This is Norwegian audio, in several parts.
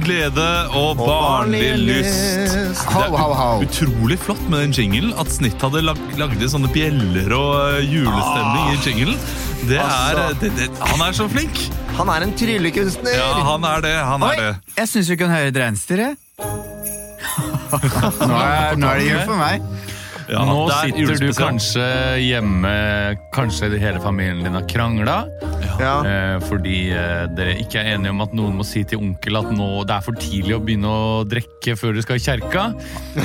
glede og barnlig lyst. Det Hau, hau, hau. er utrolig flott med den jinglen at Snitt hadde lag lagde sånne bjeller og eh, julestemning i jinglen. Det er, Ah. eh, altså. det, det, han er så flink! Han er en tryllekunstner! Ja, han er det. Han er det. Jeg syns vi kunne høre et reinsdyr, jeg. Nå er, nå er det jul for meg. Ja, Nå det er sitter du julespesial. kanskje hjemme, kanskje hele familien din har krangla Ja. eh, fordi eh, dere ikke er enige om at noen må si til onkel at nå, det er for tidlig å begynne å drikke før du skal i kjerka.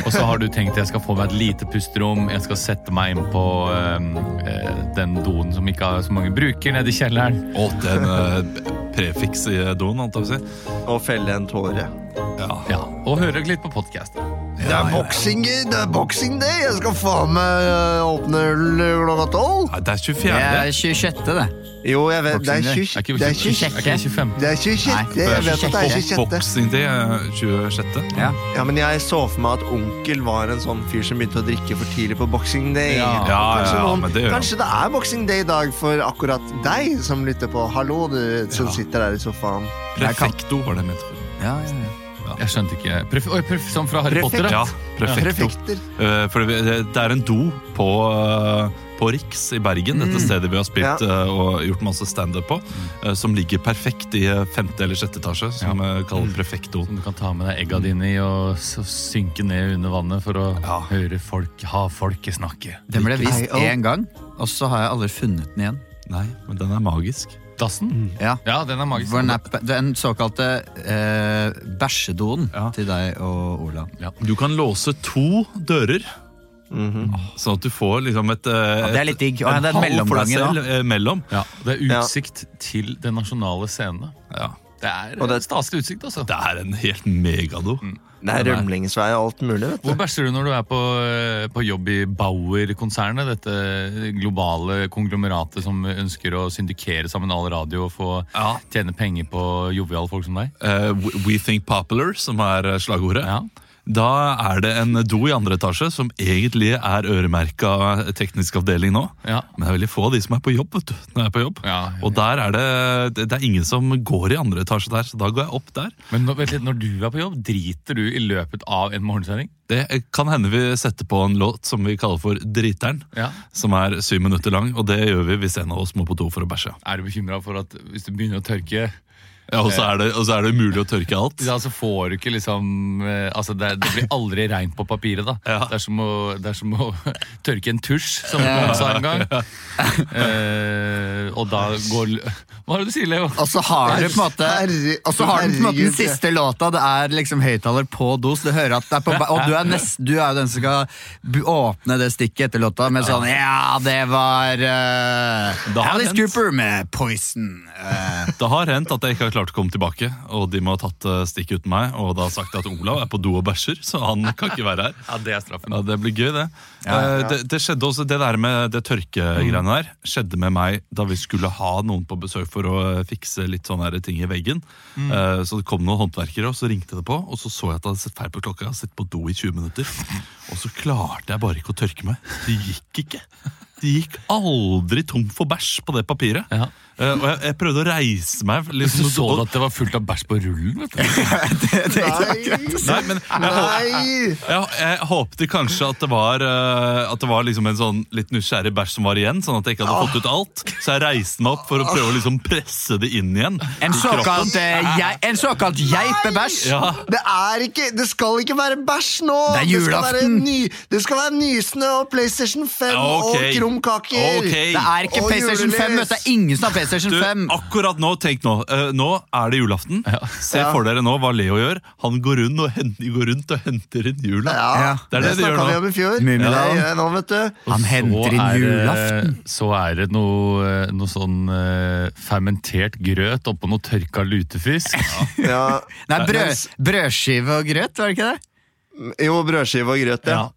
Og så har du tenkt jeg skal få meg et lite pusterom, jeg skal sette meg inn på eh, eh, den doen som ikke har så mange bruker, nede i kjelleren. Og den eh, prefiks i doen, holdt jeg på å si. Og felle en tåre. Ja, og høre litt på podkast. Det er boksing, det er boksing det! Jeg skal faen meg øh, åpne øl klokka tolv! Nei, Det er Det 24. er 26., det. Jo, jeg vet Det er Boxing Day. 26. Det er 26. Er ikke 25. Det er 26. Nei, Jeg vet at det er 26. Boxing Day er 26. Ja. Ja, men jeg så for meg at onkel var en sånn fyr som begynte å drikke for tidlig på boksing day. Ja. Ja, ja, Kanskje, ja, noen, men det gjør han. kanskje det er boksing day i dag for akkurat deg som lytter på. Hallo, du som Ja. sitter der i sofaen. Prefekto var det jeg mente. Ja, ja, ja. Jeg skjønte ikke Pref, oi, pref, Som fra Harry Prefekt. Potter, da. Ja, prefekto. Prefekter. Eh, For det det er en do på, eh, på Riks i Bergen, dette stedet vi har spilt eh, og gjort masse standup på, eh, som ligger perfekt i eh, femte eller sjette etasje, som eh, kalles prefektoen. Som du kan ta med deg egga dine i og s- synke ned under vannet for å høre folk, ha folket snakke. Den ble vist Nei, én gang, og så har jeg aldri funnet den igjen. Nei, men den er magisk. Dassen? Ja. Ja, den er magisk. For Den, er, den såkalte eh, bæsjedoen Ja. til deg og Olav. Du kan låse to dører. Mhm. Sånn at du får liksom et, eh, det er litt digg. Og en det er hall for deg mellomgangen, da. selv, eh, mellom. Ja, det er Ja. utsikt til den nasjonale scenen. Ja. Det er Og det, det- staselig utsikt, altså. Det er en helt megado. Det er rømlingsvei og alt mulig, vet du. Hvor bæsjer du når du er på, eh, på jobb i Bauer-konsernet? Dette globale konglomeratet som ønsker å syndikere sammen all radio og få Ja. tjene penger på joviale folk som deg? Eh, we- We think popular, som er eh, slagordet. Ja. Da er det en do i andre etasje som egentlig er øremerka teknisk avdeling nå. Ja. Men det er veldig få av de som er på jobb. vet du, når jeg er på jobb. Ja. Og der er det, det- det er ingen som går i andre etasje der, så da går jeg opp der. Men nå- vent litt, når du er på jobb, driter du i løpet av en morgensending? Det eh, kan hende vi setter på en låt som vi kaller for Driteren. Ja. Som er syv minutter lang, og det gjør vi hvis en av oss må på do for å bæsje. Er du bekymra for at hvis du begynner å tørke Ja, og, så er det, og så er det umulig å tørke alt. Ja, så får du ikke liksom eh, altså det, det blir aldri reint på papiret, da. Ja. Det, er som å, det er som å tørke en tusj, som noen sa en gang. Eh, og da går l- Hva er det du sier, Leo? Og så har du på en måte Herre- Og så har du på en måte den herregud. siste låta. Det er liksom høyttaler på dos. Du hører at det er på ba- Og du er, nest, du er jo den som skal bu- åpne det stikket etter låta med sånn Ja, det var eh, Da har Alice den- Cooper med Poison. eh, Det har hendt at jeg ikke har klart å komme tilbake, og de må ha tatt eh, stikk uten meg, og da har sagt at Olav er på do og bæsjer, så han kan ikke være her. Ja, det er straffen. Ja, Det blir gøy, det. Eh, Det, det skjedde også, det der med det Mm. tørkegreiene der skjedde med meg da vi skulle ha noen på besøk for å eh, fikse litt sånne her ting i veggen. Mm. Eh, Så det kom noen håndverkere, og så ringte det på, og så så jeg at jeg hadde sett feil på klokka. Jeg hadde sittet på do i 20 minutter, og så klarte jeg bare ikke å tørke meg. Det gikk ikke. Det gikk aldri tom for bæsj på det papiret. Ja. Eh, og jeg, jeg prøvde å reise meg. Så Liksom, så og- du at det var fullt av bæsj på rullen? vet du. Nei! Nei, men jeg, Nei! jeg, jeg håpte kanskje at det var eh, At det var liksom en sånn litt nysgjerrig bæsj som var igjen, sånn at jeg ikke hadde fått ut alt. Så jeg reiste meg opp for å prøve å liksom presse det inn igjen. En såkalt, eh, gei- en såkalt geipebæsj. Ja, Det er ikke Det skal ikke være bæsj nå! Det er skal være julaften. ny, det skal være nysnø og PlayStation 5 Ok. og krumkaker! Ok. Det er ikke Og PlayStation 5. vet du. Det er ingen som har PlayStation du, 5. akkurat nå, tenk nå. eh, nå er det julaften. Se for dere nå hva Leo gjør. Han går rundt og henter, går rundt og henter inn jula. Ja, Ja, det er det de gjør snakka nå. vi om i fjor. Mummidalen. Det gjør jeg nå, vet du. Han henter inn julaften. Så er det noe, noe sånn eh, fermentert grøt oppå noe tørka lutefisk. Ja. Nei, brød, brødskive og grøt, var det ikke det? Jo, brødskive og grøt, ja. Ja.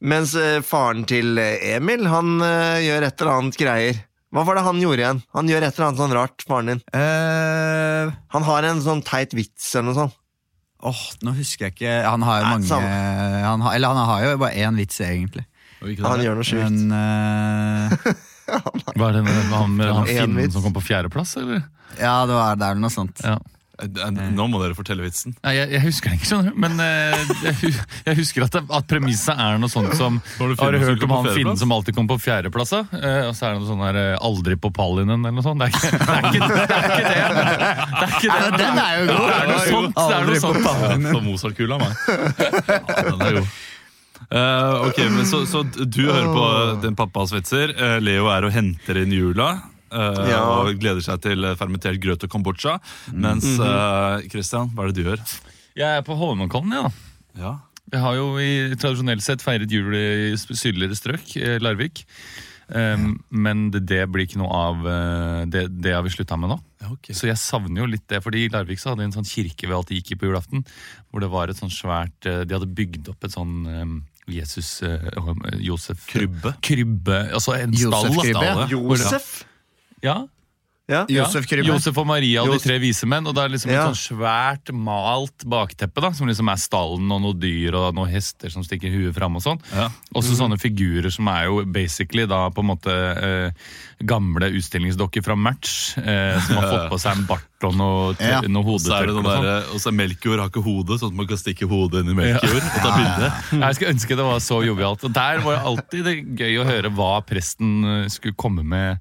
Mens eh, faren til eh, Emil, han eh, gjør et eller annet greier. Hva var det han gjorde igjen? Han gjør et eller annet sånn rart, faren din. Eh, Han har en sånn teit vits eller noe sånt. Åh, nå husker jeg ikke Han har jo Nei, mange samme. han har, Eller han har jo bare én vits, egentlig. Han gjør noe sjukt. Men eh, Hva er det med han, med han En finnen vits. som kom på fjerdeplass, eller? Ja, det var det er vel noe sånt. Ja. Eh, Nå må dere fortelle vitsen. Nei, jeg, jeg husker det ikke, skjønner du. Men eh, jeg, hu- jeg husker at, det- at premisset er noe sånt som Var det Finn Har du som hørt kom på om han fjerdeplass? Finnen som alltid kom på fjerdeplass? da? Eh, og så er det noe sånn her eh, 'aldri på pallinen' eller noe sånt. Det er ikke det. Er ikke, det, er ikke det, men det, er ikke det. Ja, den er jo god. Det er noe sånt. Det er Aldri noe på sånt. Ja, så Mozart-kula, meg. Ja, den er god. Eh, ok, men så, så du hører på din pappas vitser. Eh, Leo er og henter inn jula. eh, Ja. Og gleder seg til fermentert grøt og kombucha. Mens eh, Christian, hva er det du gjør? Jeg er på Holmenkollen, ja. Ja, Jeg har jo i, tradisjonelt sett feiret jul i sp- sydligere strøk, eh, Larvik. Um, men det, det blir ikke noe av eh, det, det har vi slutta med nå. ok Så jeg savner jo litt det, fordi i Larvik så hadde de en sånn kirke vi alltid gikk i på julaften. Hvor det var et sånn svært eh, De hadde bygd opp et sånn eh, Jesus eh, Josef Krybbe. Krybbe, Altså en stall. Josef da. Krybbe, ja. Alle. Josef? Ja. Ja. ja. Josef Krybbe. Josef og Maria og de Jos- tre vise menn. Og det er liksom Ja. et sånn svært malt bakteppe, da, som liksom er stallen og noe dyr og noen hester som stikker huet fram og sånn. Ja. Også sånne figurer som er jo basically da på en måte eh, gamle utstillingsdokker fra Match, eh, som har fått på seg en bart og noe, Ja. ja. noe Og så er det hodetørkle. den og sånn. der, eh, og så er melkjord har ikke hode, sånn at man kan stikke hodet inn i melkjord og ta bilde. Jeg skulle ønske det var så jovialt. Og der var det alltid det gøy å høre hva presten eh, skulle komme med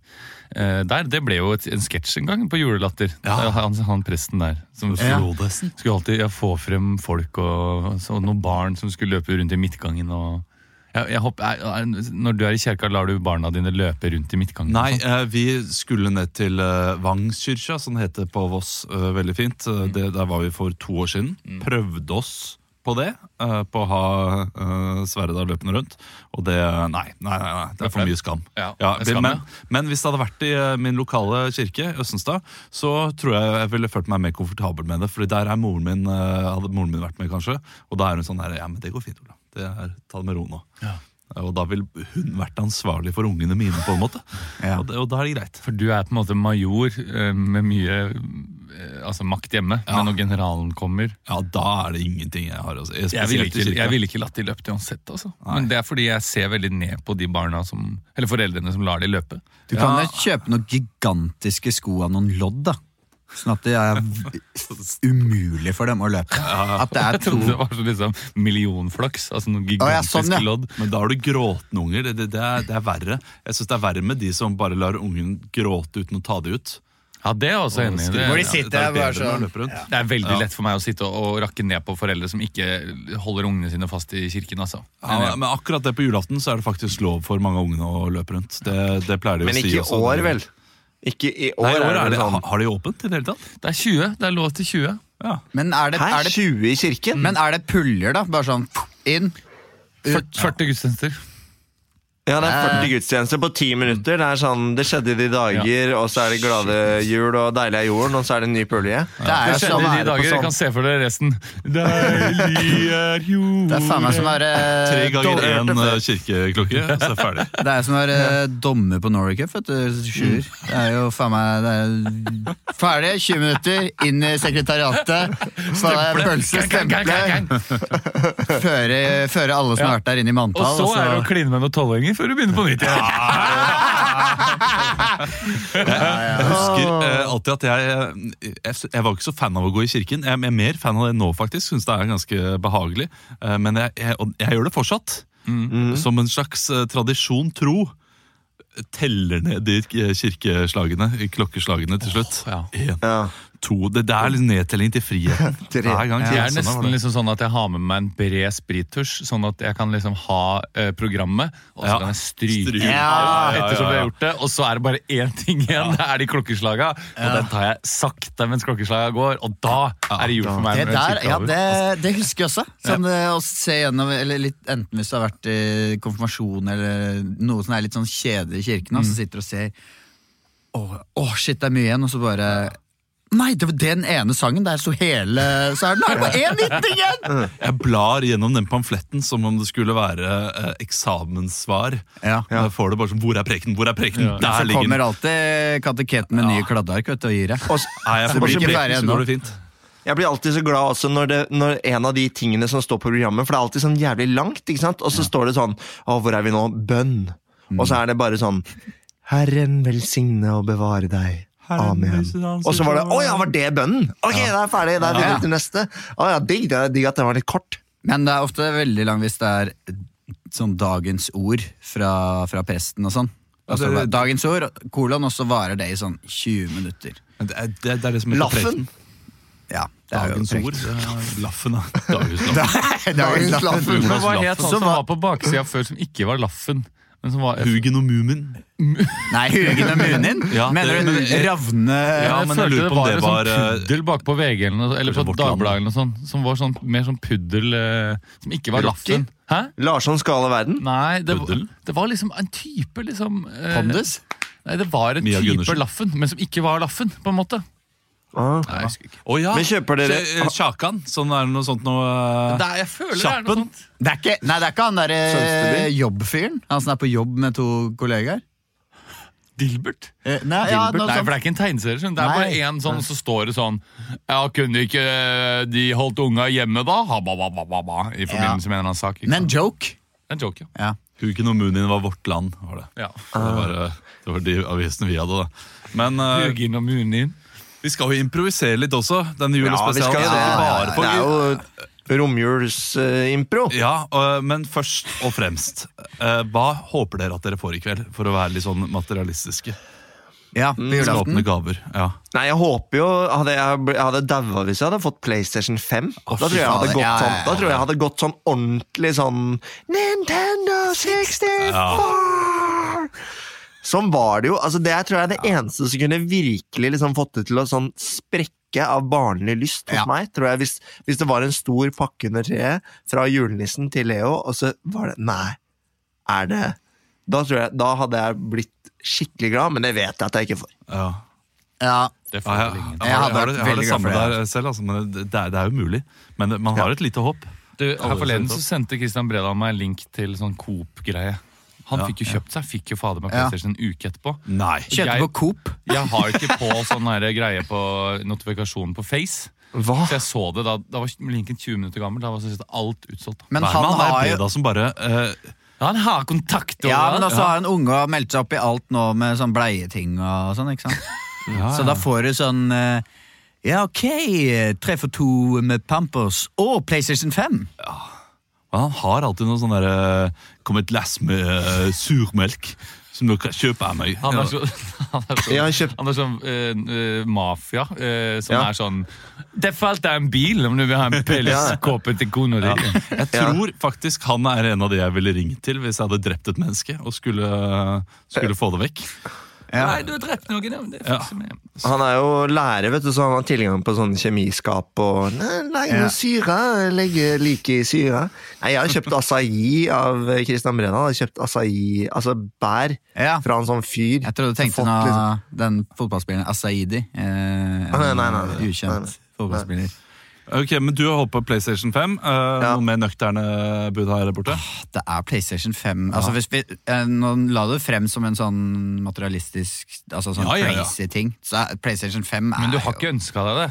eh, der. Det ble jo et, en sketsj en gang på Julelatter. Ja. Han, han presten der. Som Flodhesten. skulle alltid ja, få frem folk og, så noen barn som skulle løpe rundt i midtgangen. og... Jeg, jeg håper, er- er- når du er i kjerka, lar du barna dine løpe rundt i midtgangen? sånn? Nei, eh, vi skulle ned til eh, Vangskyrkja, som det heter på Voss. eh, veldig fint. Eh, Mm. Det, der var vi for to år siden. Prøvde oss på det. eh, på å ha eh, Sverredal løpende rundt. Og det Nei, nei, nei, nei det er for mye skam. Ja, det er vi- skam, men, ja. men hvis det hadde vært i eh, min lokale kirke, Østenstad, så tror jeg jeg ville følt meg mer komfortabel med det. Fordi der er moren min, eh, hadde moren min vært med, kanskje. Og da er hun sånn her Ja, men det går fint, Ola. Det er, ta det med ro nå. Eh, Og da ville hun vært ansvarlig for ungene mine, på en måte. Og, det, og da er det greit. For du er på en måte major eh, med mye eh, altså makt hjemme, men når generalen kommer Ja, da er det ingenting jeg har å si. Jeg ville ikke, jeg ville ikke latt de løpe uansett. Altså. Men det er fordi jeg ser veldig ned på de barna som, eller foreldrene som lar de løpe. Du kan jo kjøpe noen gigantiske sko av noen lodd, da. Sånn at det er v- umulig for dem å løpe. At det er Jeg to trodde det var så liksom millionflaks. Altså noen Å, ja, gigantiske sånn, ja. lodd. Men da har du gråtende unger. Det, det, det, er, det er verre. Jeg synes det er verre med de som bare lar ungen gråte uten å ta det ut. Ja, det er jeg også enig i. Ja, Hvor Det, de sitter det er og bare bedre når de sånn, løper rundt. det er veldig lett for meg å sitte og, og rakke ned på foreldre som ikke holder ungene sine fast i kirken. Altså. Ja, men- men akkurat det på julaften så er det faktisk lov for mange av ungene å løpe rundt. Det, det pleier de Men å si ikke i også. år, vel? Ikke i år, Nei, i år er vel det, sånn. har de åpent i det hele tatt? Det er 20. Det er lov til 20. Ja. Men er det, Hæ? er det, 20 i kirken? men er det puljer, da? Bare sånn inn. 40 gudstjenester. Ja, det er 40 gudstjenester på 10 minutter. Det er sånn, det skjedde i de dager, og så er det glade jul og deilig er jorden, og så er det en ny pulje. Det er Det jo sånn skjedde i de er det dager. på Dere sånn. kan se for dere resten. Deilig er jord Det er faen meg som å være Tre ganger dårlig én hørte eh, kirkeklokke, så er det ferdig. Det er som å være dommer på Norway Cup, vet du. Sjuer. Det er jo faen meg det er Ferdig, 20 minutter, inn i sekretariatet. Faen, det er Pølse, stemple. Føre, føre alle som har vært der, inn i Og manntall. så og så- er det å kline med noen tolvhenger før du begynner på nytt. igjen. Jeg husker Ah. eh, alltid at jeg, eh, jeg Jeg var ikke så fan av å gå i kirken. Jeg er mer fan av det nå, faktisk. Syns det er ganske behagelig. Eh, men jeg, jeg, og jeg gjør det fortsatt. Som en slags eh, tradisjon tro. Teller ned de eh, kirkeslagene, klokkeslagene, til slutt. Åh, En, Ja. to Det, det er litt nedtelling til friheten. Tre. Hver gang. Jeg Ja, er sånn var nesten det. liksom sånn at jeg har med meg en bred sprittusj, sånn at jeg kan liksom ha eh, programmet, og så Ja. kan jeg stryke Stryk. ut Ja, ja, ja, ettersom jeg ja. har gjort det, og så er det bare én ting igjen, det er de klokkeslaga, og den tar jeg sakte mens klokkeslaga går, og da er det jul for meg. Det når den der, kirka er ja, over. det, det husker jeg også. Sånn, eh, Å se gjennom, eller litt, enten hvis du har vært i konfirmasjon eller noe som er litt sånn kjedelig i kirken, Mm. og så sitter du og ser Å, å, shit, det er mye igjen, og så bare Nei, det var den ene sangen der sto hele Så er det nå er det bare én liten igjen! Jeg blar gjennom den pamfletten som om det skulle være eh, eksamenssvar. Ja. Og Jeg får det bare som Hvor er preken? Hvor er preken? Der Så ligger den! kommer alltid kateket med nye kladdeark vet du, og gir deg. Og s- Er jeg Så blir forbi ikke ferdig preken, så ennå. går det fint. Jeg blir alltid så glad også når, det, når en av de tingene som står på programmet, for det er alltid sånn jævlig langt, ikke sant? Og så står det sånn Å, hvor er vi nå? Bønn. Og så er det bare sånn Herren velsigne og bevare deg. Herren Amen. huset hans Og så var det utover Å ja, var det bønnen? Ok, det er ferdig. Da er vi Ja. videre til neste. Å ja, digg. Det er digg at den var litt kort. Men det er ofte veldig lang hvis det er sånn dagens ord fra, fra presten og sånn. Og så Ja, det- bare dagens ord, kolon, og så varer det i sånn 20 minutter. Men Det er det, er det som heter Laffen. presten. Ja, det er jo Dagens frekt. ord. det er Laffen, da. Dagens laffen. Dagens Dagens laffen. laffen. Men hva het han Så som hva- var på baksida før, som ikke var Laffen? Men som var Hugen og Mumin. Nei, Hugen og Munin? Ja, Mener det- du men- eh, Ravne Ja, jeg men jeg følte lurer på om det var, eh, en sånn puddel bak på VG eller, noe, eller kanskje på Vårt Land. Dagbladet eller noe sånt, som var sånn, mer sånn puddel eh, som ikke var Rocky? Laffen. Hæ? Larsson skala verden. Nei, det, Puddel? det var liksom en type liksom eh, Pondus? Nei, det var en Mia type Gundersen. Laffen, men som ikke var Laffen, på en måte. Ah. Nei, jeg husker ikke. Å ja. Men kjøper dere- Kjø- eh, Kjakan? Sånn er det noe sånt noe eh, Det er, jeg føler det er Kjappen? noe sånt. Det er ikke, nei, det er ikke han der eh, Sønsteby? jobbfyren. Han som er på jobb med to kollegaer. Dilbert? Eh, Nei, ja, Dilbert? noe Nei, sånt. for det er ikke en tegneserie. skjønner du. Det er Nei. bare én sånn, så står det sånn Ja, kunne ikke eh, de holdt unga hjemme da? Ha, ba, ba, ba, ba, ba, I forbindelse med en eller annen sak. Ikke Men sant? joke. En joke, ja. Ja. Hugen og Munin var Vårt Land, var det. ja. Det var, eh, det var de avisene vi hadde, da. Men eh, Hugin og Munin. vi skal jo improvisere litt også. Denne julespesialen det. skal ikke bare Det på er jo romjulsimpro. Ja, øh, men først og fremst, øh, hva håper dere at dere får i kveld? For å være litt sånn materialistiske. ja, Mm. på Skal julaften. åpne gaver. Ja. Nei, jeg håper jo Hadde jeg, bl- jeg hadde daua hvis jeg hadde fått PlayStation 5. da, fy tror jeg jeg hadde fader. gått Ja, ja, sånn, ja. da tror jeg jeg hadde gått sånn ordentlig sånn Nintendo 64! Sånn var det jo. Altså, det er, tror jeg er det eneste som kunne virkelig liksom fått det til å sånn sprekke av barnlig lyst hos Ja. meg. tror jeg hvis, hvis det var en stor pakke under treet fra julenissen til Leo, og så var det Nei, er det Da, tror jeg, da hadde jeg blitt skikkelig glad, men det vet jeg at jeg ikke får. Ja. Ja, Ja, Det får jeg, vel ingen. jeg, har- jeg Jeg hadde har det, jeg har vært det veldig glad samme for det. der selv, altså, men det, det, er, det er jo mulig. Men det, man har et lite håp. Du, her Alle forleden sendte så opp. sendte Christian Bredal meg en link til sånn Coop-greie. Han Ja, fikk jo kjøpt seg, fikk jo fader meg Ja. PlayStation en uke etterpå. Nei. Kjøpte Jeg- på Coop. Jeg har ikke på sånn her greie på notifikasjonen på Face. Hva? Så jeg så det da, da var linken 20 minutter gammel. Da var så alt utsolgt. Men Nei, han man er har jo Breda som bare øh, Han har kontakt! ja, men også har en unge og har meldt seg opp i alt nå med sånn bleieting og sånn, ikke sant? Så da får du sånn eh, Ja, ok, tre for to med Pampers og PlayStation 5. Han har alltid noe sånn derre Kom et glass med øh, surmelk som dere kan kjøpe av meg. Han Ja. er så- han er Jeg sånn, har kjøpt han er sånn eh, eh, mafia eh, som Ja. er sånn Det falt deg en bil om du vil ha en pelskåpe til kona di! Jeg tror faktisk han er en av de jeg ville ringt til hvis jeg hadde drept et menneske og skulle, skulle få det vekk. Nei, du har drept noen! ja, men Det Ja. fikser vi. Han er jo lærer, vet du, så han har tilgang på sånn kjemiskap og Nei, Legg noe Ja. syre, legg like i syre. Nei, jeg har kjøpt acai av Christian Brenna. Jeg har kjøpt acai, altså bær, Ja. fra en sånn fyr. Jeg trodde du tenkte Fått nå liksom- den fotballspilleren Asaidi. Eh, Ah, nei, nei, nei, nei. ukjent Nei, nei. fotballspiller. Ok, men Du har holdt på PlayStation 5. eh, Ja. Noe mer nøkterne bud her borte? Ah. Det er PlayStation 5. Altså, hvis vi, eh, nå la du frem som en sånn materialistisk altså sånn Ja, ja, ja. crazy ting. Så er, PlayStation 5 er Men du har jo- ikke ønska deg det?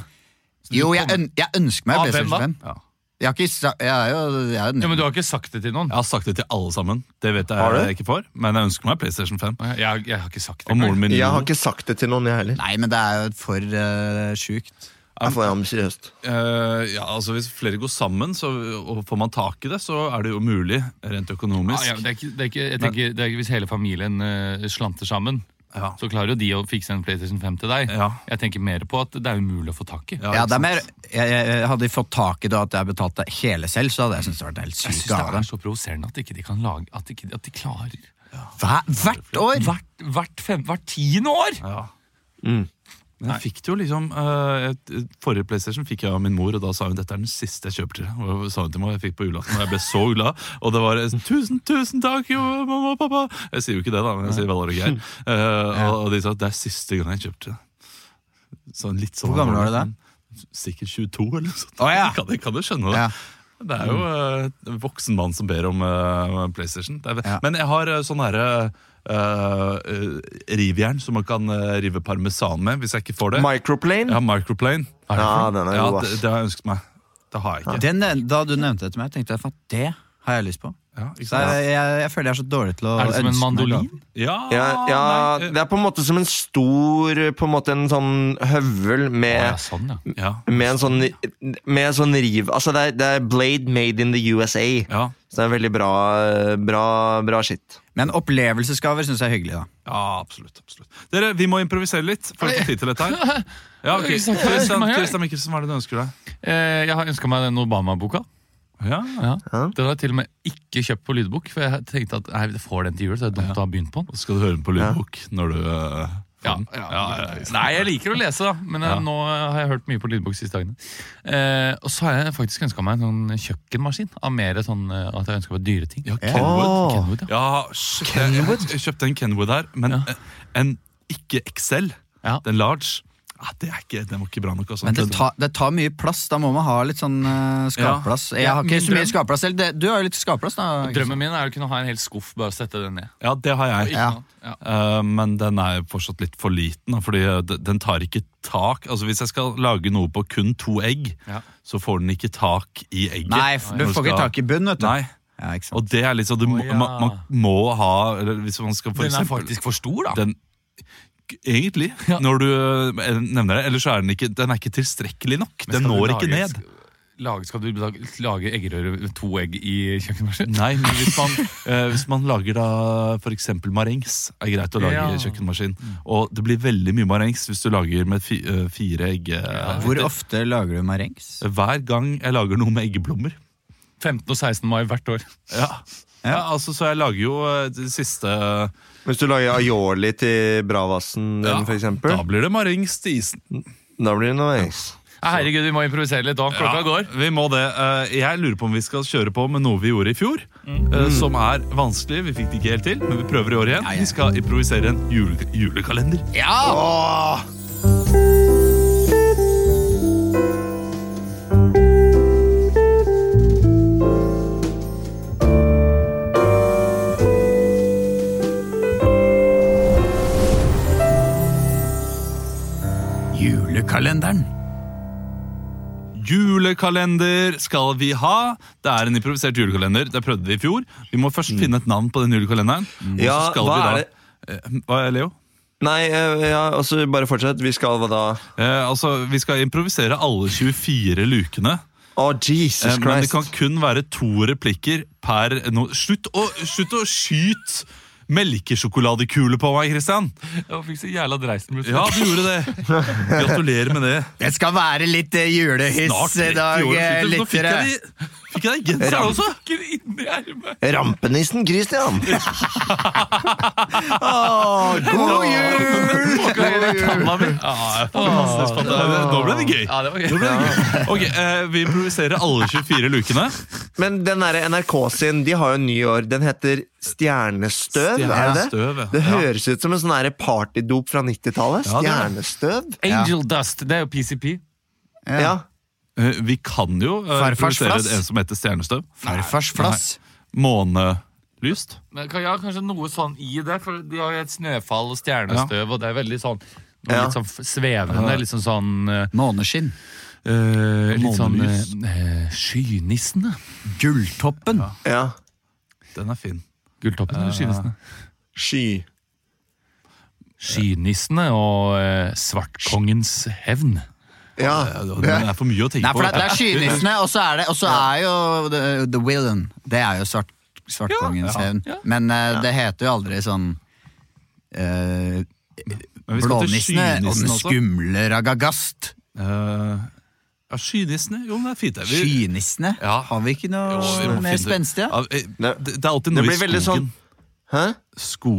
Jo, jeg, øn, jeg ønsker meg Av hvem da? PlayStation 5. Ja. Jeg, har ikke, sa- jeg er jo jeg er jo Ja, men du har ikke sagt det til noen? Jeg har sagt det til alle sammen. Det vet Har jeg, du? jeg ikke får, men jeg ønsker meg PlayStation 5. Jeg, jeg har ikke sagt det. Og moren min Jeg har Lino. ikke sagt det til noen, jeg heller. Nei, men det er jo for uh, sjukt. Jeg er for ambisiøst. Eh, ja, altså Hvis flere går sammen så, og får man tak i det, så er det jo mulig rent økonomisk. Ja, ja, men det er ikke, det er ikke, jeg tenker, det er ikke Hvis hele familien eh, slanter sammen, Ja. så klarer jo de å fikse en PlayStation 5 til deg. Ja. Jeg tenker mer på at det er umulig å få tak i. Ja, Ja, ikke det er sant? mer, jeg, jeg, hadde jeg fått tak i det at jeg betalte hele selv, så hadde jeg syntes det vært helt Jeg syns sykt det av er så provoserende at ikke de kan lage At, ikke, at de klarer. Hvert år! Hvert, hvert, fem, hvert tiende år! Ja. Men jeg fikk det jo liksom eh, et- Forrige PlayStation fikk jeg av min mor, og da sa hun dette er den siste jeg kjøper til deg. Og det sa hun til meg, og jeg fikk på julaften, og jeg ble så glad. Og det var eh, sånn, tusen, tusen takk, jo, mamma og pappa! Jeg sier jo ikke det, da, men jeg sier Valar og Geir. Eh, og, og de sa det er siste gang jeg kjøpte det. Sånn litt sånn Hvor gammel var du da? Sikkert 22, eller noe sånt. Å, ja. kan, jeg- kan du skjønne det? Ja. Det er jo eh, en voksen mann som ber om eh, PlayStation. Det er, Ja. Men jeg har eh, sånn herre eh, eh, rivjern som man kan eh, rive parmesan med, hvis jeg ikke får det. Microplane? Jeg har microplane. Ja, den er Ja, god, det, ass. det har jeg ønsket meg. Det har jeg ikke. Den, da du nevnte det til meg, tenkte jeg at det har jeg lyst på. Ja, ikke Så sant? jeg, jeg, jeg føler jeg er så dårlig til å Er det som en ønske meg mandolin? glad. ja, Ja, ja, nei, eh, det er på en måte som en stor På en måte en sånn høvel Å, med ja, sånn, ja. eh, ja. Med en sånn, med en sånn riv Altså, det er, det er Blade made in the USA. Ja. Så det er veldig bra, bra, bra shit. Men opplevelsesgaver syns jeg er hyggelig, da. ja, absolutt. absolutt Dere, vi må improvisere litt for å få tid til dette her. Ja, ok Ikke sant, hva ønsker Christian, man her? Christian Mikkelsen, hva er det du ønsker deg? Eh, Jeg har ønska meg den Obama-boka. Ja, Ja. Den har jeg til og med ikke kjøpt på lydbok, for jeg tenkte at nei, jeg får den til jul. så det er dumt å ha begynt på den. Skal du høre den på lydbok når du eh, får Ja, den? ja, Nei, jeg liker å lese, da, men eh, Ja. nå har jeg hørt mye på lydbok siste dagene. Eh, og så har jeg faktisk ønska meg en sånn kjøkkenmaskin. Av mer sånn eh, at jeg ønsker meg dyre ting. Ja, Åh. Kenwood. Kenwood, ja. Ja, shit, jeg, jeg, jeg kjøpte en Kenwood her, men Ja. eh, en ikke XL. Ja. Den large. Ja, det er ikke, den var ikke bra nok. Altså. Men det, Den- tar- det tar mye plass. Da må man ha litt sånn eh, skapplass. Jeg Ja, har ikke min så mye drøm- skapplass selv. Det- Du har jo litt skapplass, da. Drømmen min er å kunne ha en hel skuff, bare sette den ned. ja, det har jeg. Ikke Ja. noe annet. Ja. Eh, men den er fortsatt litt for liten, da, fordi eh, d- den tar ikke tak. Altså Hvis jeg skal lage noe på kun to egg, Ja. så får den ikke tak i egget. Nei, f- du Når får ikke skal- tak i bunn, vet du. Nei, Ja, ikke sant. og det er litt sånn du må, Å, ja. man, man må ha eller Hvis man skal for Den er eksempel faktisk for stor, da. den, Egentlig, når du eh, nevner det. Ellers så er den ikke, den er ikke tilstrekkelig nok. Men Den skal du når ikke lage- ned. Lage, skal du lage, lage eggerøre med to egg i kjøkkenmaskinen? Nei, men hvis man, eh, hvis man lager da for eksempel marengs, er greit å lage Ja. i kjøkkenmaskin. Og det blir veldig mye marengs hvis du lager med fi, eh, fire egg. eh, Hvor ofte lager du marengs? Hver gang jeg lager noe med eggeblommer. 15. og 16. mai hvert år. Ja. Ja. Ja, altså, så jeg lager jo eh, det siste Hvis du lager aioli til bravassen din, Ja, for eksempel, Da blir det marengs til isen. da blir det noe engs. Ja, Herregud, vi må improvisere litt da. Klokka Ja, går. Vi må det. Eh, Jeg lurer på om vi skal kjøre på med noe vi gjorde i fjor, Mm. eh, som er vanskelig. Vi fikk det ikke helt til, men vi prøver i år igjen. Vi skal improvisere en jule julekalender. Julekalenderen. Julekalender skal vi ha. Det er en improvisert julekalender. Det prøvde vi i fjor. Vi må først Mm. finne et navn på den julekalenderen. og så Ja, skal hva vi da- er det? Eh, Hva er Leo? Nei, eh, ja, altså bare fortsett. Vi skal hva da? Eh, altså, Vi skal improvisere alle 24 lukene. Å, Jesus Eh, men det Christ. kan kun være to replikker per no Slutt å, slutt å skyte melkesjokoladekule på meg, Christian! Jeg fikk så jævla dreisen. plutselig. Ja, du gjorde det. Gratulerer med det. Det skal være litt eh, julehyss i dag, eh, Nå fikk lyttere. jeg, de- fikk jeg de genserne også! Ikke inn i ermet. Rampenissen Christian! God jul! Ja, fantastisk, fantastisk. Nå ble det gøy. Ja, det var Nå gøy. ble det gøy. Ok, eh, Vi improviserer alle 24 lukene. Men den derre NRK sin, de har jo en ny år. Den heter Stjernestøv, er det det? Stjernestøv, Det ja. høres ut som en sånn derre partydop fra 90-tallet. Ja, det er Stjernestøv. Angel Dust, det er jo PCP. Ja. Eh, Vi kan jo eh, Farfars improvisere flass. en som heter Stjernestøv. Farfars flass. Månelyst. Men kan- Ja, kanskje noe sånn i det, for de har jo et snøfall og stjernestøv, og det er veldig sånn noe Ja. Litt sånn f- svevende, litt sånn sånn eh, Måneskinn. eh, Litt sånn Månelys. eh, eh, Skynissene. Gulltoppen. ja. Den er fin. Gulltoppen eller skynissene? Sky. Skynissene og eh, Svartkongens hevn. Ja, Ja. Det er for mye å tenke Nei, for på. det, det er skynissene, og så er, det, og så er jo The, the Villain. Det er jo svart, Svartkongens hevn. ja. Men eh, det heter jo aldri sånn eh, Men vi skal til Blånissene og skynissen den også. skumle ragagast. Eh, ja, Skynissene? Jo, men det er fint. det. Vi- Skynissene? Ja. Har vi ikke noe sånn Jo, vi må mer finne- spenstig? Ja? Ja, eh, Det det er alltid Det noe i blir veldig sånn skogen. Hæ? Sko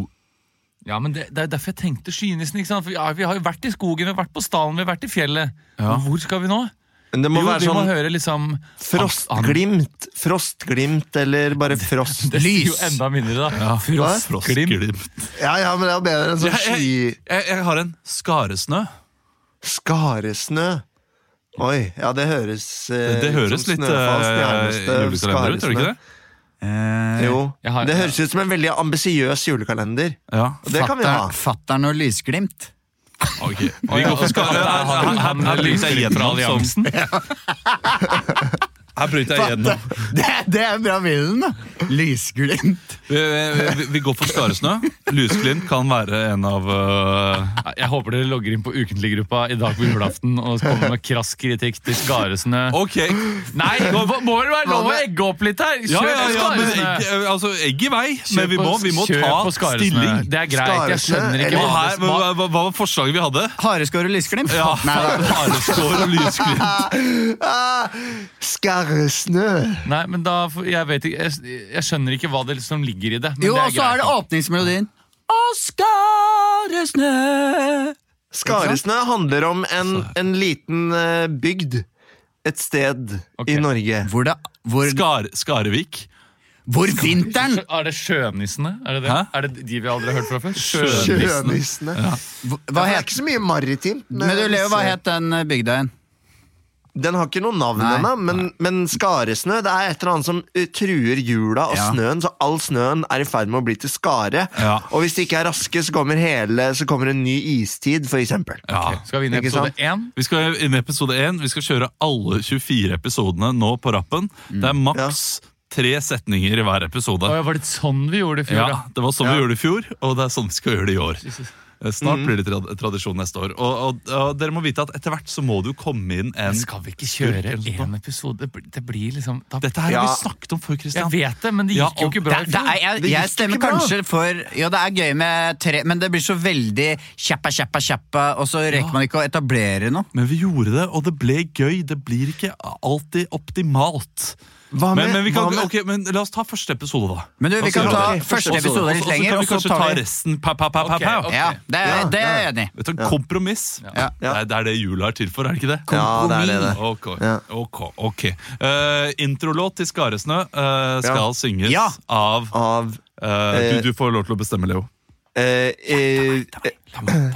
Ja, men det, det er derfor jeg tenkte skynissen. ikke sant? For ja, Vi har jo vært i skogen, vi har vært på stallen, vi har vært i fjellet. Ja. Men Hvor skal vi nå? Men det må jo, være vi må sånn høre liksom frostglimt. Frostglimt eller bare frost. Det sier jo Lys. enda mindre, da. Ja. Frostglimt. Frostglimt. Ja, ja, men det er jo bedre enn sånn Jeg, sky... jeg, jeg, jeg har en skaresnø. Skaresnø. Oi, ja, det høres eh, Det, det ut høres som litt snøfall, eh, stjernestøv, julekalender ut, gjør det ikke det? Eh, Jo. Jeg har- det høres ut som en veldig ambisiøs julekalender. Ja, Og det kan vi ha. fatteren- Fattern og lysglimt. ok. Vi går for skare. Der hadde Her- han her- her- her- lyset her- fra gjennom som- alliansen. Her bryter jeg igjennom. Det, det er bra vinden, da! Lysglimt. Vi, vi, vi går for Skaresnø. Lysglimt kan være en av eh, Jeg håper dere logger inn på ukentliggruppa i dag på julaften og kommer med krass kritikk til Skaresnø. Ok! Nei, nå må må vel være lov å egge opp litt her! Ja, Kjør ja, ja, men egg, Skaresnø! eh, altså, egg i vei, men vi Kjør må, på- vi må kjør på ta Skaresnø. stilling. Det er greit, jeg Skaresnø, skjønner Og ikke eller hva her, hva, det smak- hva hva var forslaget vi hadde? Hareskår og lysglimt? Ja, Nei, da. Hareskår og lysglimt. Ah, Skarresnø! Nei, men da, får- jeg, vet ikke, jeg, jeg skjønner ikke hva det som ligger i det. Men Jo, det og er så er greit. det åpningsmelodien. Å, Skaresnø! Skaresnø handler om en, en liten eh, bygd. Et sted Ok. i Norge. Hvor, det, hvor, Skar, Skarevik. hvor vinteren Er det sjønissene? Er det, det? Hæ? er det de vi aldri har hørt fra før? Sjø- Sjønissene. Hva det er het ikke så mye maritimt. med Men du, Leo, hva disse- het den eh, bygda igjen? Den har ikke noe navn Nei. ennå, men, men skaresnø det er et eller annet som eh, truer jula og Ja. snøen, så all snøen er i ferd med å bli til skare. Ja. Og hvis de ikke er raske, så kommer, hele, så kommer en ny istid, for eksempel. Ja. Skal vi inn i Ikke episode sant? én? Vi skal inn i episode 1. Vi skal kjøre alle 24 episodene nå på rappen. Det er maks tre setninger i hver episode. Mm. Å, ja, var det sånn vi gjorde det i fjor? Ja, Det var sånn vi gjorde det i fjor, og det er sånn vi skal gjøre det i år. Eh, Snart blir det trad- tradisjon neste år. Og, og, og dere må vite at etter hvert så må du komme inn da? en Skal vi ikke kjøre Skurk, eller én episode? Det blir- Det blir liksom da, Dette her har Ja. vi snakket om før, Jeg Christian. vet det, men det Ja, gikk jo og ikke Det, bra. i det fjor. er, jeg, Det jeg gikk stemmer ikke bra. kanskje for Jo, det er gøy med tre, men det blir så veldig kjappa, kjappa, kjappa, og så rekker man ikke å etablere noe. Men vi gjorde det, og det ble gøy. Det blir ikke alltid optimalt. Hva Men, med- men, vi kan, hva med- ok, men la oss ta første episode, da. Men du, vi Og så kan gjør ta vi det. første Og så- episode og litt så kan lenger, vi og så kanskje tar ta vi- resten. Pa, pa, pa, pa, Ok, pa. ok. Ja, det er, Ja, det er jeg ja. enig i. Vet du, Kompromiss. Ja. Det, er, det er det jula er til for, er det ikke det? Ja, det er det, det. Ok, Ja. ok, ok. Eh, Introlåt til Skaresnø eh, skal Ja. synges Ja. av Av eh, du, du får lov til å bestemme, Leo. eh, eh,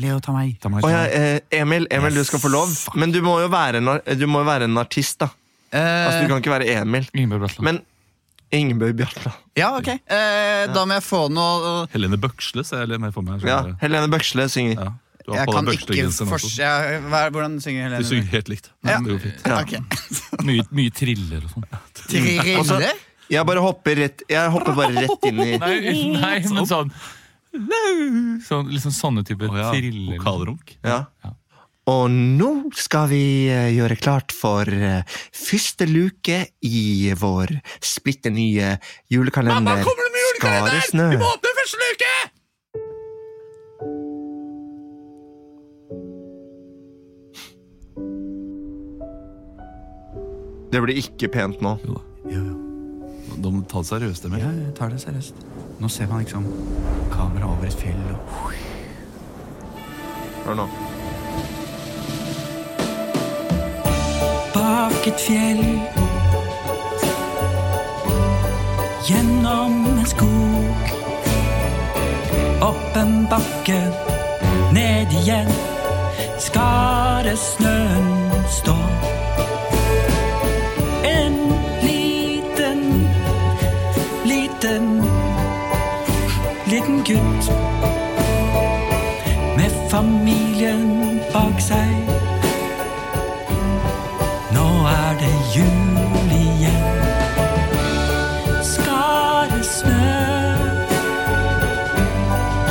Leo, ta meg. å ja, eh, Emil, Emil du skal få lov, men du må jo være en, ar- du må jo være en artist, da. Eh. Altså, du kan ikke være Emil. Ingeborg Bratland. Men Ingebjørg Bjartland. Ja, ok. Eh, da må jeg få noe Helene Bøksle ser jeg litt mer for meg. Ja, skjønner du? Helene Bøksle synger. Ja. Du har Jeg på kan deg ikke Bøksle-genseren fors... også. Ja, hva er- hvordan synger Du Helene? synger helt likt. Ja. Det går fint. Ja. Ok. mye, mye triller og sånn. Triller? Jeg bare hopper rett Jeg hopper bare rett inn i Nei, nei, men sånn sånn, liksom sånne typer Å ja, triller. Vokalrunk. Ja. Og nå skal vi eh, gjøre klart for eh, første luke i vår splitter nye julekalender. Mamma, kommer det med julekalender? Vi må åpne første luke! Det blir ikke pent nå. Jo da. De må ta det seriøst, Emil. Ja, jeg tar det seriøst. Nå ser man liksom kamera over et fjell og Hør nå. bak et fjell. Gjennom en skog. Opp en bakke, ned igjen. Skaresnøen står. En liten, liten, liten gutt. Med familien bak seg. Nå er det jul igjen. Skaresnø.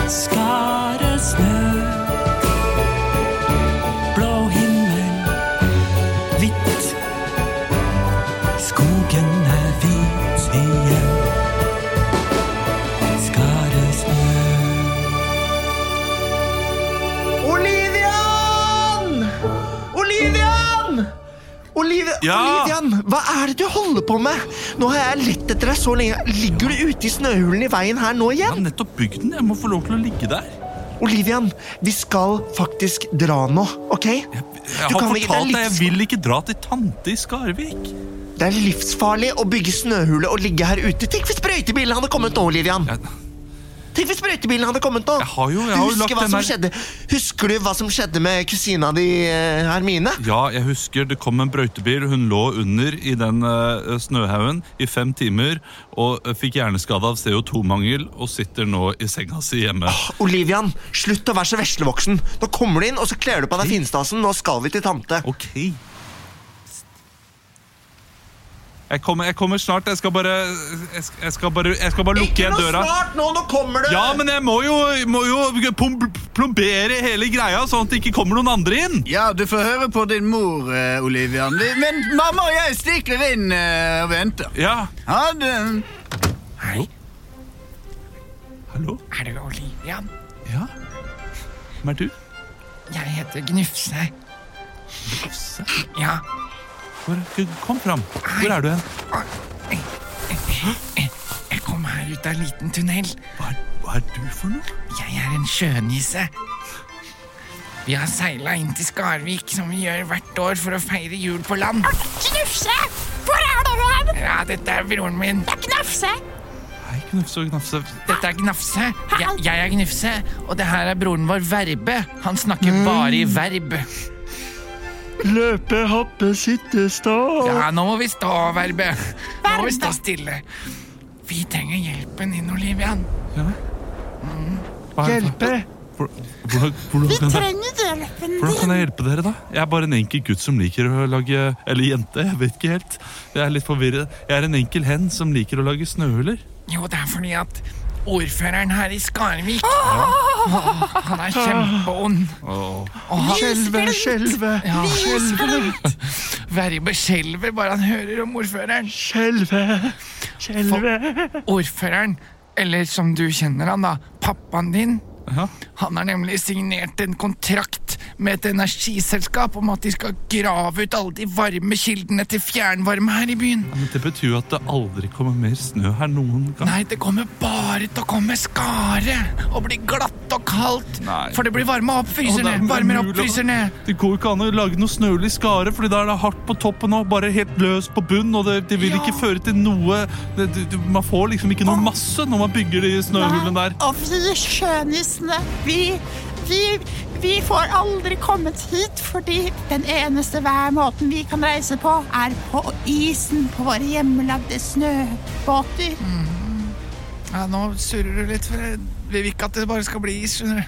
Skaresnø. Blå himmel, hvitt. Skogen er hvit igjen. Skaresnø. Olivian! Olivian! Olivi Ja! Olivian, hva er det du holder på med? Nå har jeg lett etter deg så lenge. Ligger du ute i snøhulen i veien her nå Jeg har igjen? nettopp bygd den. Jeg må få lov til å ligge der. Olivian, vi skal faktisk dra nå, OK? Jeg Du har kan ikke- det er fortalt deg, jeg livs- vil ikke dra til tante i Skarvik. Det er livsfarlig å bygge snøhule og ligge her ute. Tenk hvis brøytebilen hadde kommet nå, Olivian. Jeg, Tenk hvis brøytebilen hadde kommet nå. Jeg har jo- jeg Du har jo husker lagt hva den som der- skjedde. Husker du hva som skjedde med kusina di, eh, Hermine? ja, jeg husker det kom en brøytebil. Hun lå under i den eh, snøhaugen i fem timer og eh, fikk hjerneskade av CO2-mangel og sitter nå i senga si hjemme. Olivian, slutt å være så veslevoksen. Nå kommer du inn, og så kler du på deg finstasen. Nå skal vi til tante. Ok. Jeg kommer, jeg kommer snart. Jeg skal bare, jeg skal, jeg skal bare, jeg skal bare lukke igjen døra. snart nå! Nå kommer det! Ja, men jeg må jo, må jo pom- plombere hele greia, sånn at det ikke kommer noen andre inn. Ja, du får høre på din mor, eh, Olivian. Vi, men mamma og jeg stikler inn eh, og venter. Ja, Ha det. Hei, hallo? er det Olivia? Ja? Hvem er du? Jeg heter Gnufse. Ufse. Ja, Hvor, kom fram. Hvor er du hen? jeg kom her ut av en liten tunnel. Hva er, hva er du for noe? Jeg er en sjønisse. Vi har seila inn til Skarvik, som vi gjør hvert år for å feire jul på land. Knufse! Hvor er dere hen? Ja, dette er broren min. Knufse! Hei, Knufse og Knafse. Dette er Gnafse. Jeg, jeg er Gnufse, og det her er broren vår Verbe. Han snakker bare i verb. Løpe, hoppe, sitte, stå. Ja, nå må vi stå, Verbe. Nå må vi stå stille. Vi trenger hjelpen din, Olivian. Hva er det for- Hvor- Hvordan, hvordan, Vi kan jeg, trenger hjelpen hvordan din. kan jeg hjelpe dere, da? Jeg er bare en enkel gutt som liker å lage Eller jente, jeg vet ikke helt. Jeg er litt forvirret. Jeg er en enkel hen som liker å lage snøhuler. Jo, det er fordi at ordføreren her i Skarvik Han er kjempeond. Skjelve, skjelve, Ja. Verbe skjelver bare han hører om ordføreren. skjelve, skjelve. Ordføreren, eller som du kjenner han da, pappaen din, Ja. han har nemlig signert en kontrakt med et energiselskap om at de skal grave ut alle de varme kildene til fjernvarme her i byen. Men Det betyr jo at det aldri kommer mer snø her noen gang. Nei, det kommer bare til å komme skare og bli glatt og kaldt. Nei. For det blir varma opp Og det fryserne. er Varmer opp mulig å- fryserne. Det går jo ikke an å lage noe snøhull i skaret, Fordi da er det hardt på toppen og bare helt løst på bunn. Og det, det vil Ja. ikke føre til noe det, det, det- Man får liksom ikke noe masse når man bygger de snøhullene der. Og vi sjønissene, vi, vi, vi får aldri kommet hit, fordi den eneste hver måten vi kan reise på, er på isen på våre hjemmelagde snøbåter. Ja, nå surrer du litt, for jeg- vi vil ikke at det bare skal bli is, skjønner du.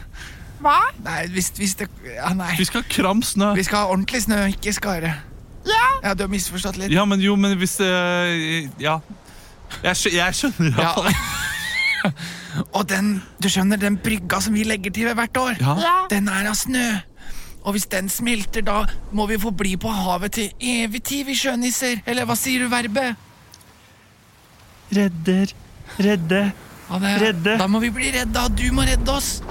Hva? Nei, hvis, hvis det Ja, nei. Vi skal ha kram snø. Vi skal ha ordentlig snø, ikke skare. Ja, Ja, du har misforstått litt. Ja, men jo, men hvis eh, Ja. Jeg, skjø jeg skjønner i hvert fall. Og den, du skjønner, den brygga som vi legger til ved hvert år, Ja. ja. den er av snø. Og hvis den smelter, da må vi få bli på havet til evig tid, vi sjønisser. Eller hva sier du, Verbe? Redder, redde, Ja, det- Redde. Da må vi bli redda, og du må redde oss.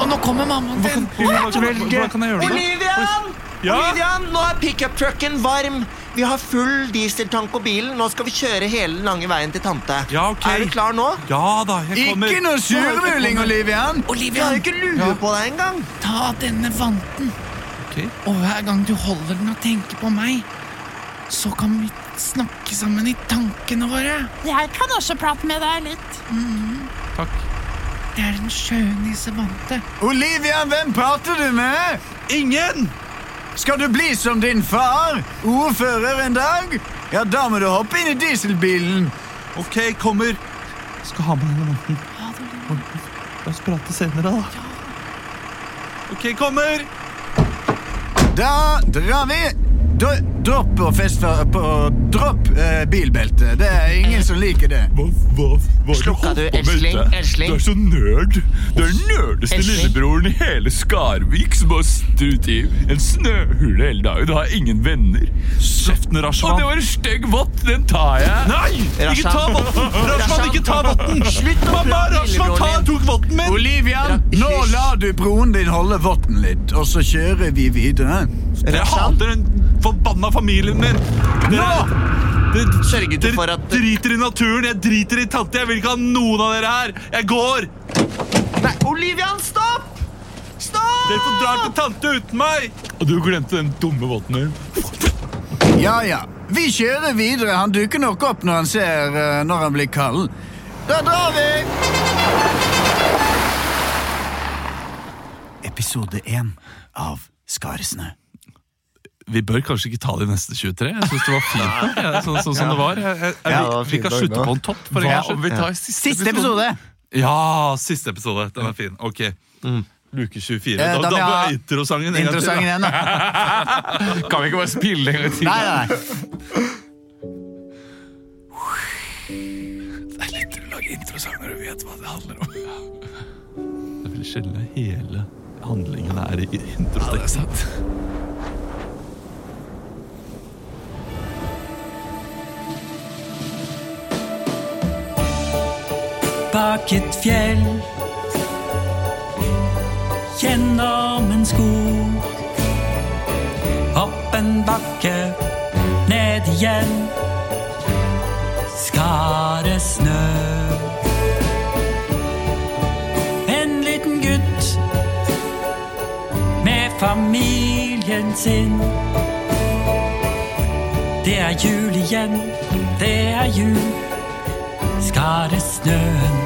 Og nå kommer mammaen Hva kan, din. hvordan, kan, hvordan kan jeg gjøre det? Olivian! Ja? Olivian, nå er pickup-trucken varm. Vi har full dieseltank på bilen. Nå skal vi kjøre hele den lange veien til tante. Ja, ok. Er du klar nå? Ja da, jeg kommer. Ikke noe surmuling, Olivian. Vi har Olivia, jo ikke lue på deg engang. ta denne vanten. Ok. Og hver gang du holder den og tenker på meg, så kan vi snakke sammen i tankene våre. Jeg kan også prate med deg litt. Takk. Det er en sjønissevante. Olivian, hvem prater du med? Ingen! Skal du bli som din far, ordfører en dag? Ja, da må du hoppe inn i dieselbilen. OK, kommer. Skal ha med denne måten. La oss prate senere, da. OK, kommer. Da drar vi. Da, dropp å feste på Dropp eh, bilbeltet. Det er ingen som liker det. Hva, hva, hva Slukka du Elsling? Elsling? så nerd. Du er den nerdeste Elsling? i hele Skarvik som har strutt i en snøhule hele dagen og har ingen venner. Kjeften, Rashman. var en stygg vott! Den tar jeg. Nei! Ikke ta Rashad. votten! Rashman, ikke ta votten! Slutt å Mamma, prate Rashman lillebroren ta, din. tok votten min! Olivian, nå lar du broren din holde votten litt, og så kjører vi videre. Jeg Rashad, hater den forbanna familien min! Nå! sørget du Dere for at driter i naturen, jeg driter i tante, jeg vil ikke ha noen av dere her! Jeg går! Nei, Olivian, stopp! Stopp! Dere får dra til tante uten meg! Og du glemte den dumme votten din. Ja, ja. Vi kjører videre. Han dukker nok opp når han ser eh, når han blir kald. Da drar vi! Episode én av Skaresnø. Vi bør kanskje ikke ta de neste 23. Jeg syns det var fint. ja, Sånn sånn som det var. Jeg, jeg, jeg, Ja, det var vi fint kan dag, slutte da. på en topp. for en Hva gangs om skyld. vi tar siste, Siste episode! Ja, siste episode. Den er fin. Ok. Luke 24. Eh, Da, da, da må jeg ha bør introsangen en gang til, da. Interessant igjen, da. Kan vi ikke bare spille en gang til? Nei, nei, nei. vet hva det handler om. Det vil skille hele handlingen her i introteksten. bak et fjell. Gjennom en skog. Opp en bakke, ned igjen. Skar det snø. En liten gutt med familien sin. Det er jul igjen, det er jul. Skare snøen,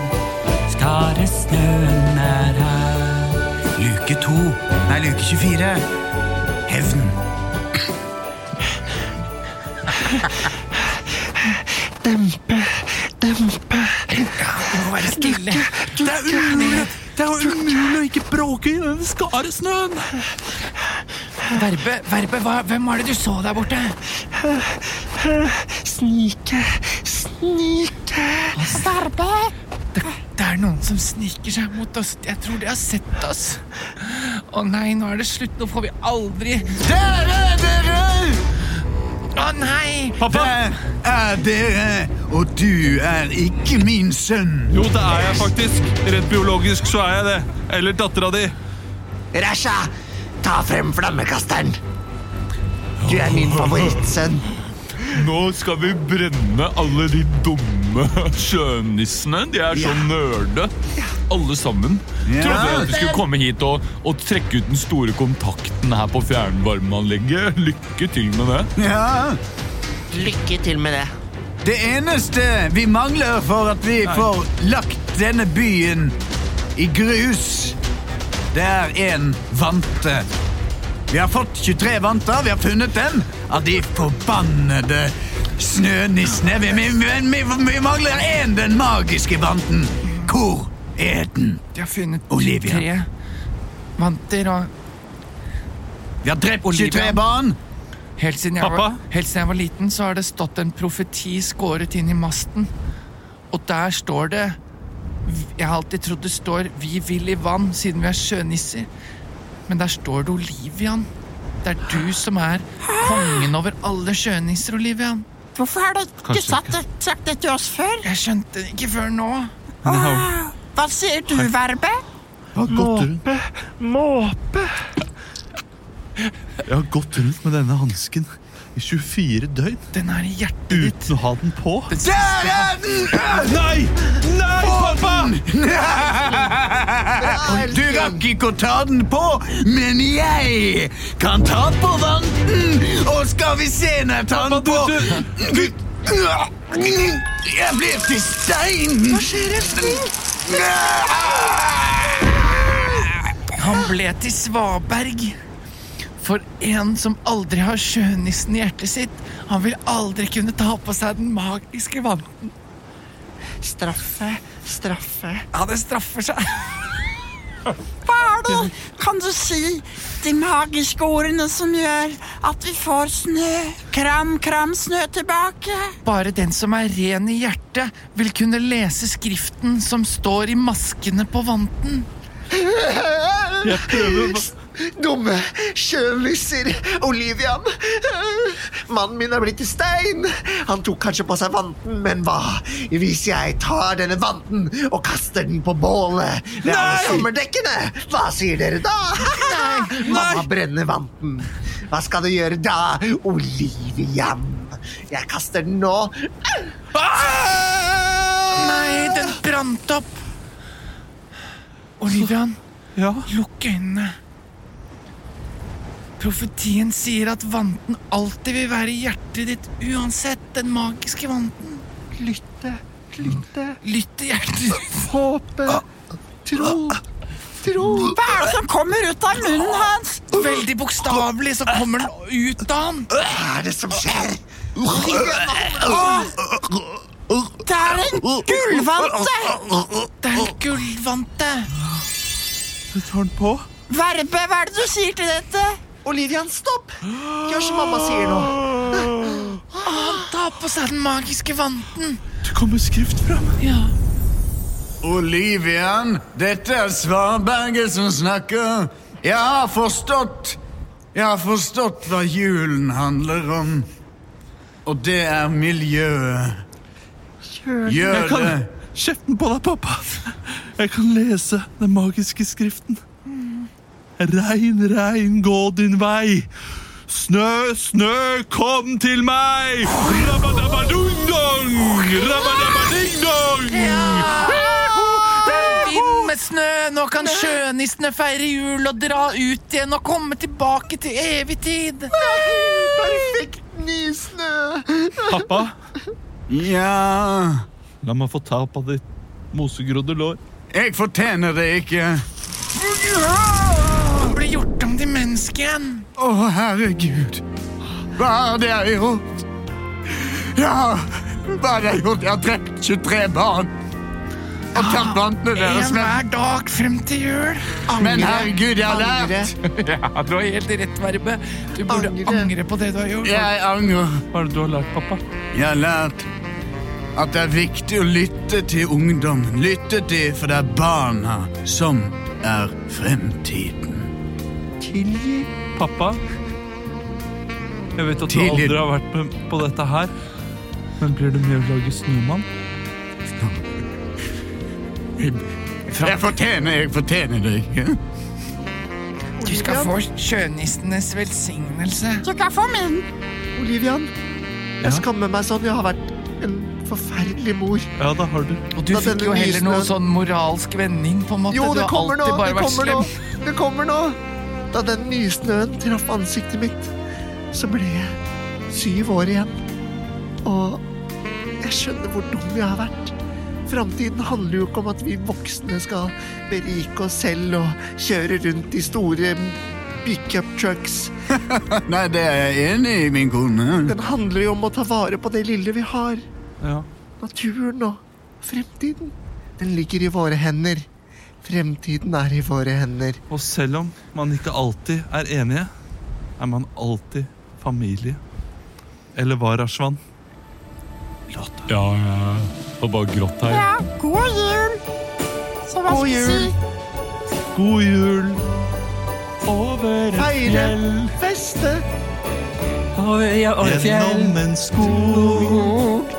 skare snøen er her. Luke 2, nei, luke 24. Hevn. Det er umulig! Det er jo umulig å ikke bråke i den skaresnøen! Verbe, verbe hva, hvem var det du så der borte? Snike, snike Verbe, Det er noen som sniker seg mot oss. Jeg tror de har sett oss. Å nei, nå er det slutt. Nå får vi aldri Dere, dere! Å nei! Pappa! Der er dere, og du er ikke min sønn. Jo, det er jeg faktisk. Rett biologisk så er jeg det. Eller dattera di. Rasha, ta frem flammekasteren. Du er min favorittsønn. Nå skal vi brenne alle de dumme sjønissene. De er så nerde. Alle sammen. Ja. Trodde jeg at vi skulle komme hit og, og trekke ut den store kontakten her på fjernvarmeanlegget. Lykke til med det. Ja, Lykke til med det. Det eneste vi mangler for at vi får lagt denne byen i grus, det er en vante. Vi har fått 23 vanter, vi har funnet dem av de forbannede snønissene. Vi, vi, vi, vi mangler én, den magiske vanten. Hvor er den? De har funnet Olivia. tre vanter, og Vi har drept Olivia. 23 barn. helt siden, jeg var, Pappa? helt siden jeg var liten, så har det stått en profeti skåret inn i masten. Og der står det Jeg har alltid trodd det står 'Vi vil i vann', siden vi er sjønisser. Men der står det Olivian. Det er du som er kongen over alle sjønisser, Olivian. hvorfor har du ikke sagt det, sagt det til oss før? Jeg skjønte det ikke før nå. Hva sier du, Verbe? Måpe! Måpe! Jeg har gått rundt med denne hansken i 24 døgn Den er i hjertet ditt. uten å ha den på. Der er den! Nei! Nei, pappa! Du rakk ikke å ta den på, men jeg kan ta på vanten! Og skal vi se når jeg tar den på Jeg blir til stein! Hva skjer Han ble til Svaberg. For en som aldri har sjønissen i hjertet sitt, han vil aldri kunne ta på seg den magiske vanten. Straffe, straffe Ja, det straffer seg. Hva er det? Kan du si de magiske ordene som gjør at vi får snø? Kram, kram, snø tilbake. Bare den som er ren i hjertet, vil kunne lese skriften som står i maskene på vanten. Jeg prøver å- Dumme sjønisser, Olivian. Mannen min er blitt til stein. Han tok kanskje på seg vanten, men hva hvis jeg tar denne vanten og kaster den på bålet ved alle sommerdekkene? Hva sier dere da? Mamma brenner vanten. Hva skal du gjøre da, Olivian? Jeg kaster den nå. Nei, den brant opp. Olivian, Ja. lukk øynene. Profetien sier at vanten alltid vil være i hjertet ditt, uansett den magiske vanten. Lytte, lytte, Lytt til hjertet ditt. håpe, Ah. tro, tro. Hva er det som kommer ut av munnen hans? Veldig bokstavelig så kommer den ut av han. Hva er det som skjer? Det er en gullvante! Det er en gullvante. Verbe, hva er det du sier til dette? Olivian, stopp! Gjør som mamma sier nå. Han tar på seg den magiske vanten. Det kommer skrift fram. Ja. Olivian, dette er Svarberget som snakker. Jeg har forstått. Jeg har forstått hva julen handler om. Og det er miljøet. Gjør kan- det. Kjeften på deg, pappa! Jeg kan lese den magiske skriften. Regn, regn, gå din vei. Snø, snø, kom til meg! Rabadabadung-dong! Rabadabading-dong! Det er vind med snø, nå kan sjønissene feire jul og dra ut igjen og komme tilbake til evig tid. Perfekt nysnø! Pappa, Ja la meg få ta på ditt mosegrodde lår. Jeg fortjener det ikke. Han blir gjort om til menneske igjen. Å, herregud. Hva har det jeg har gjort? Ja, hva har jeg gjort? Jeg har drept 23 barn. Og tatt vantene deres. En Men, hver dag frem til jul. men herregud, jeg har lært. Ja, du har helt rett, Verbe. Du burde Angre. angre på det du har gjort. Jeg angrer. Hva er det du har lært, pappa? Jeg har lært at det er viktig å lytte til ungdommen. Lytte til, for det er barna som er fremtiden. Pappa, jeg vet at du Tidligere. aldri har vært med på dette her, men blir du med å lage Snømann? Jeg fortjener, jeg fortjener det ikke. Du skal få sjønissenes velsignelse. Du kan få min. Olivian, jeg skammer meg sånn. Jeg har vært en forferdelig mor. Ja, det har du. Og du Da fikk denne jo heller noe nysnøen- sånn moralsk vending, på en måte. Jo, du det har kommer nå! alltid Det bare vært kommer nå! slem. Det kommer nå! Da den nysnøen traff ansiktet mitt, så ble jeg syv år igjen. Og jeg skjønner hvor dum jeg har vært. Framtiden handler jo ikke om at vi voksne skal berike oss selv og kjøre rundt i store pickup trucks. Nei, det er jeg enig i, min kone. Den handler jo om å ta vare på det lille vi har. Ja. Naturen og fremtiden. Den ligger i våre hender. Fremtiden er i våre hender. Og selv om man ikke alltid er enige, er man alltid familie. Eller hva, Rashwan? Ja, ja. Og bare grått her. Ja, god jul. Så hva God skal jeg si? jul. God jul over et Feire, fjell, feste, Over, ja, over fjell. gjennom en skog,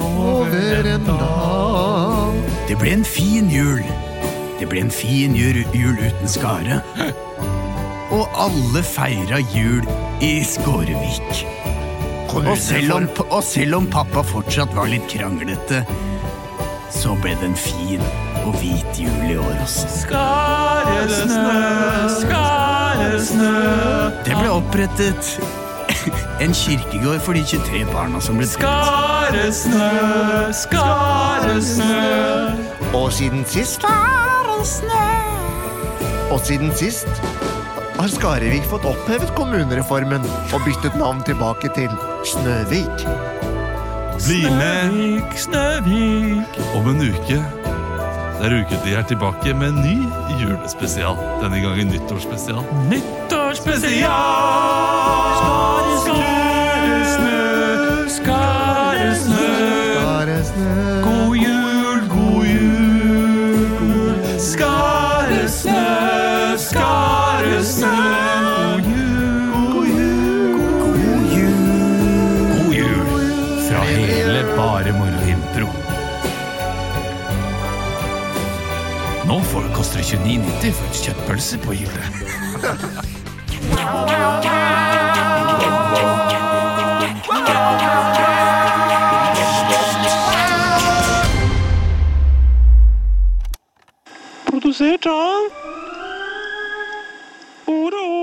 over en dal. Det ble en fin jul. Det ble en fin jul, jul uten skare. Og alle feira jul i Skårevik. Og selv, om, og selv om pappa fortsatt var litt kranglete, så ble det en fin og hvit jul i år også. Skare snø, skare snø. Det ble opprettet en kirkegård for de 23 barna som ble drept. Skare snø, skare snø. Og siden sist, Skare snø. og siden sist har Skarevik fått opphevet kommunereformen og byttet navn tilbake til Snøvik. Bli med om en uke. Der ukentlig er tilbake med en ny julespesial. Denne gangen nyttårsspesial. Nyttårsspesial! Skare snø, skare snø. Bare snø. God jul, god jul. Skare snø, skare snø. God jul, god jul. God jul fra hele Bare Moro Impro. Nå får koster det 29,90 for et kjøttpølse på hyllet. produsert av Ora og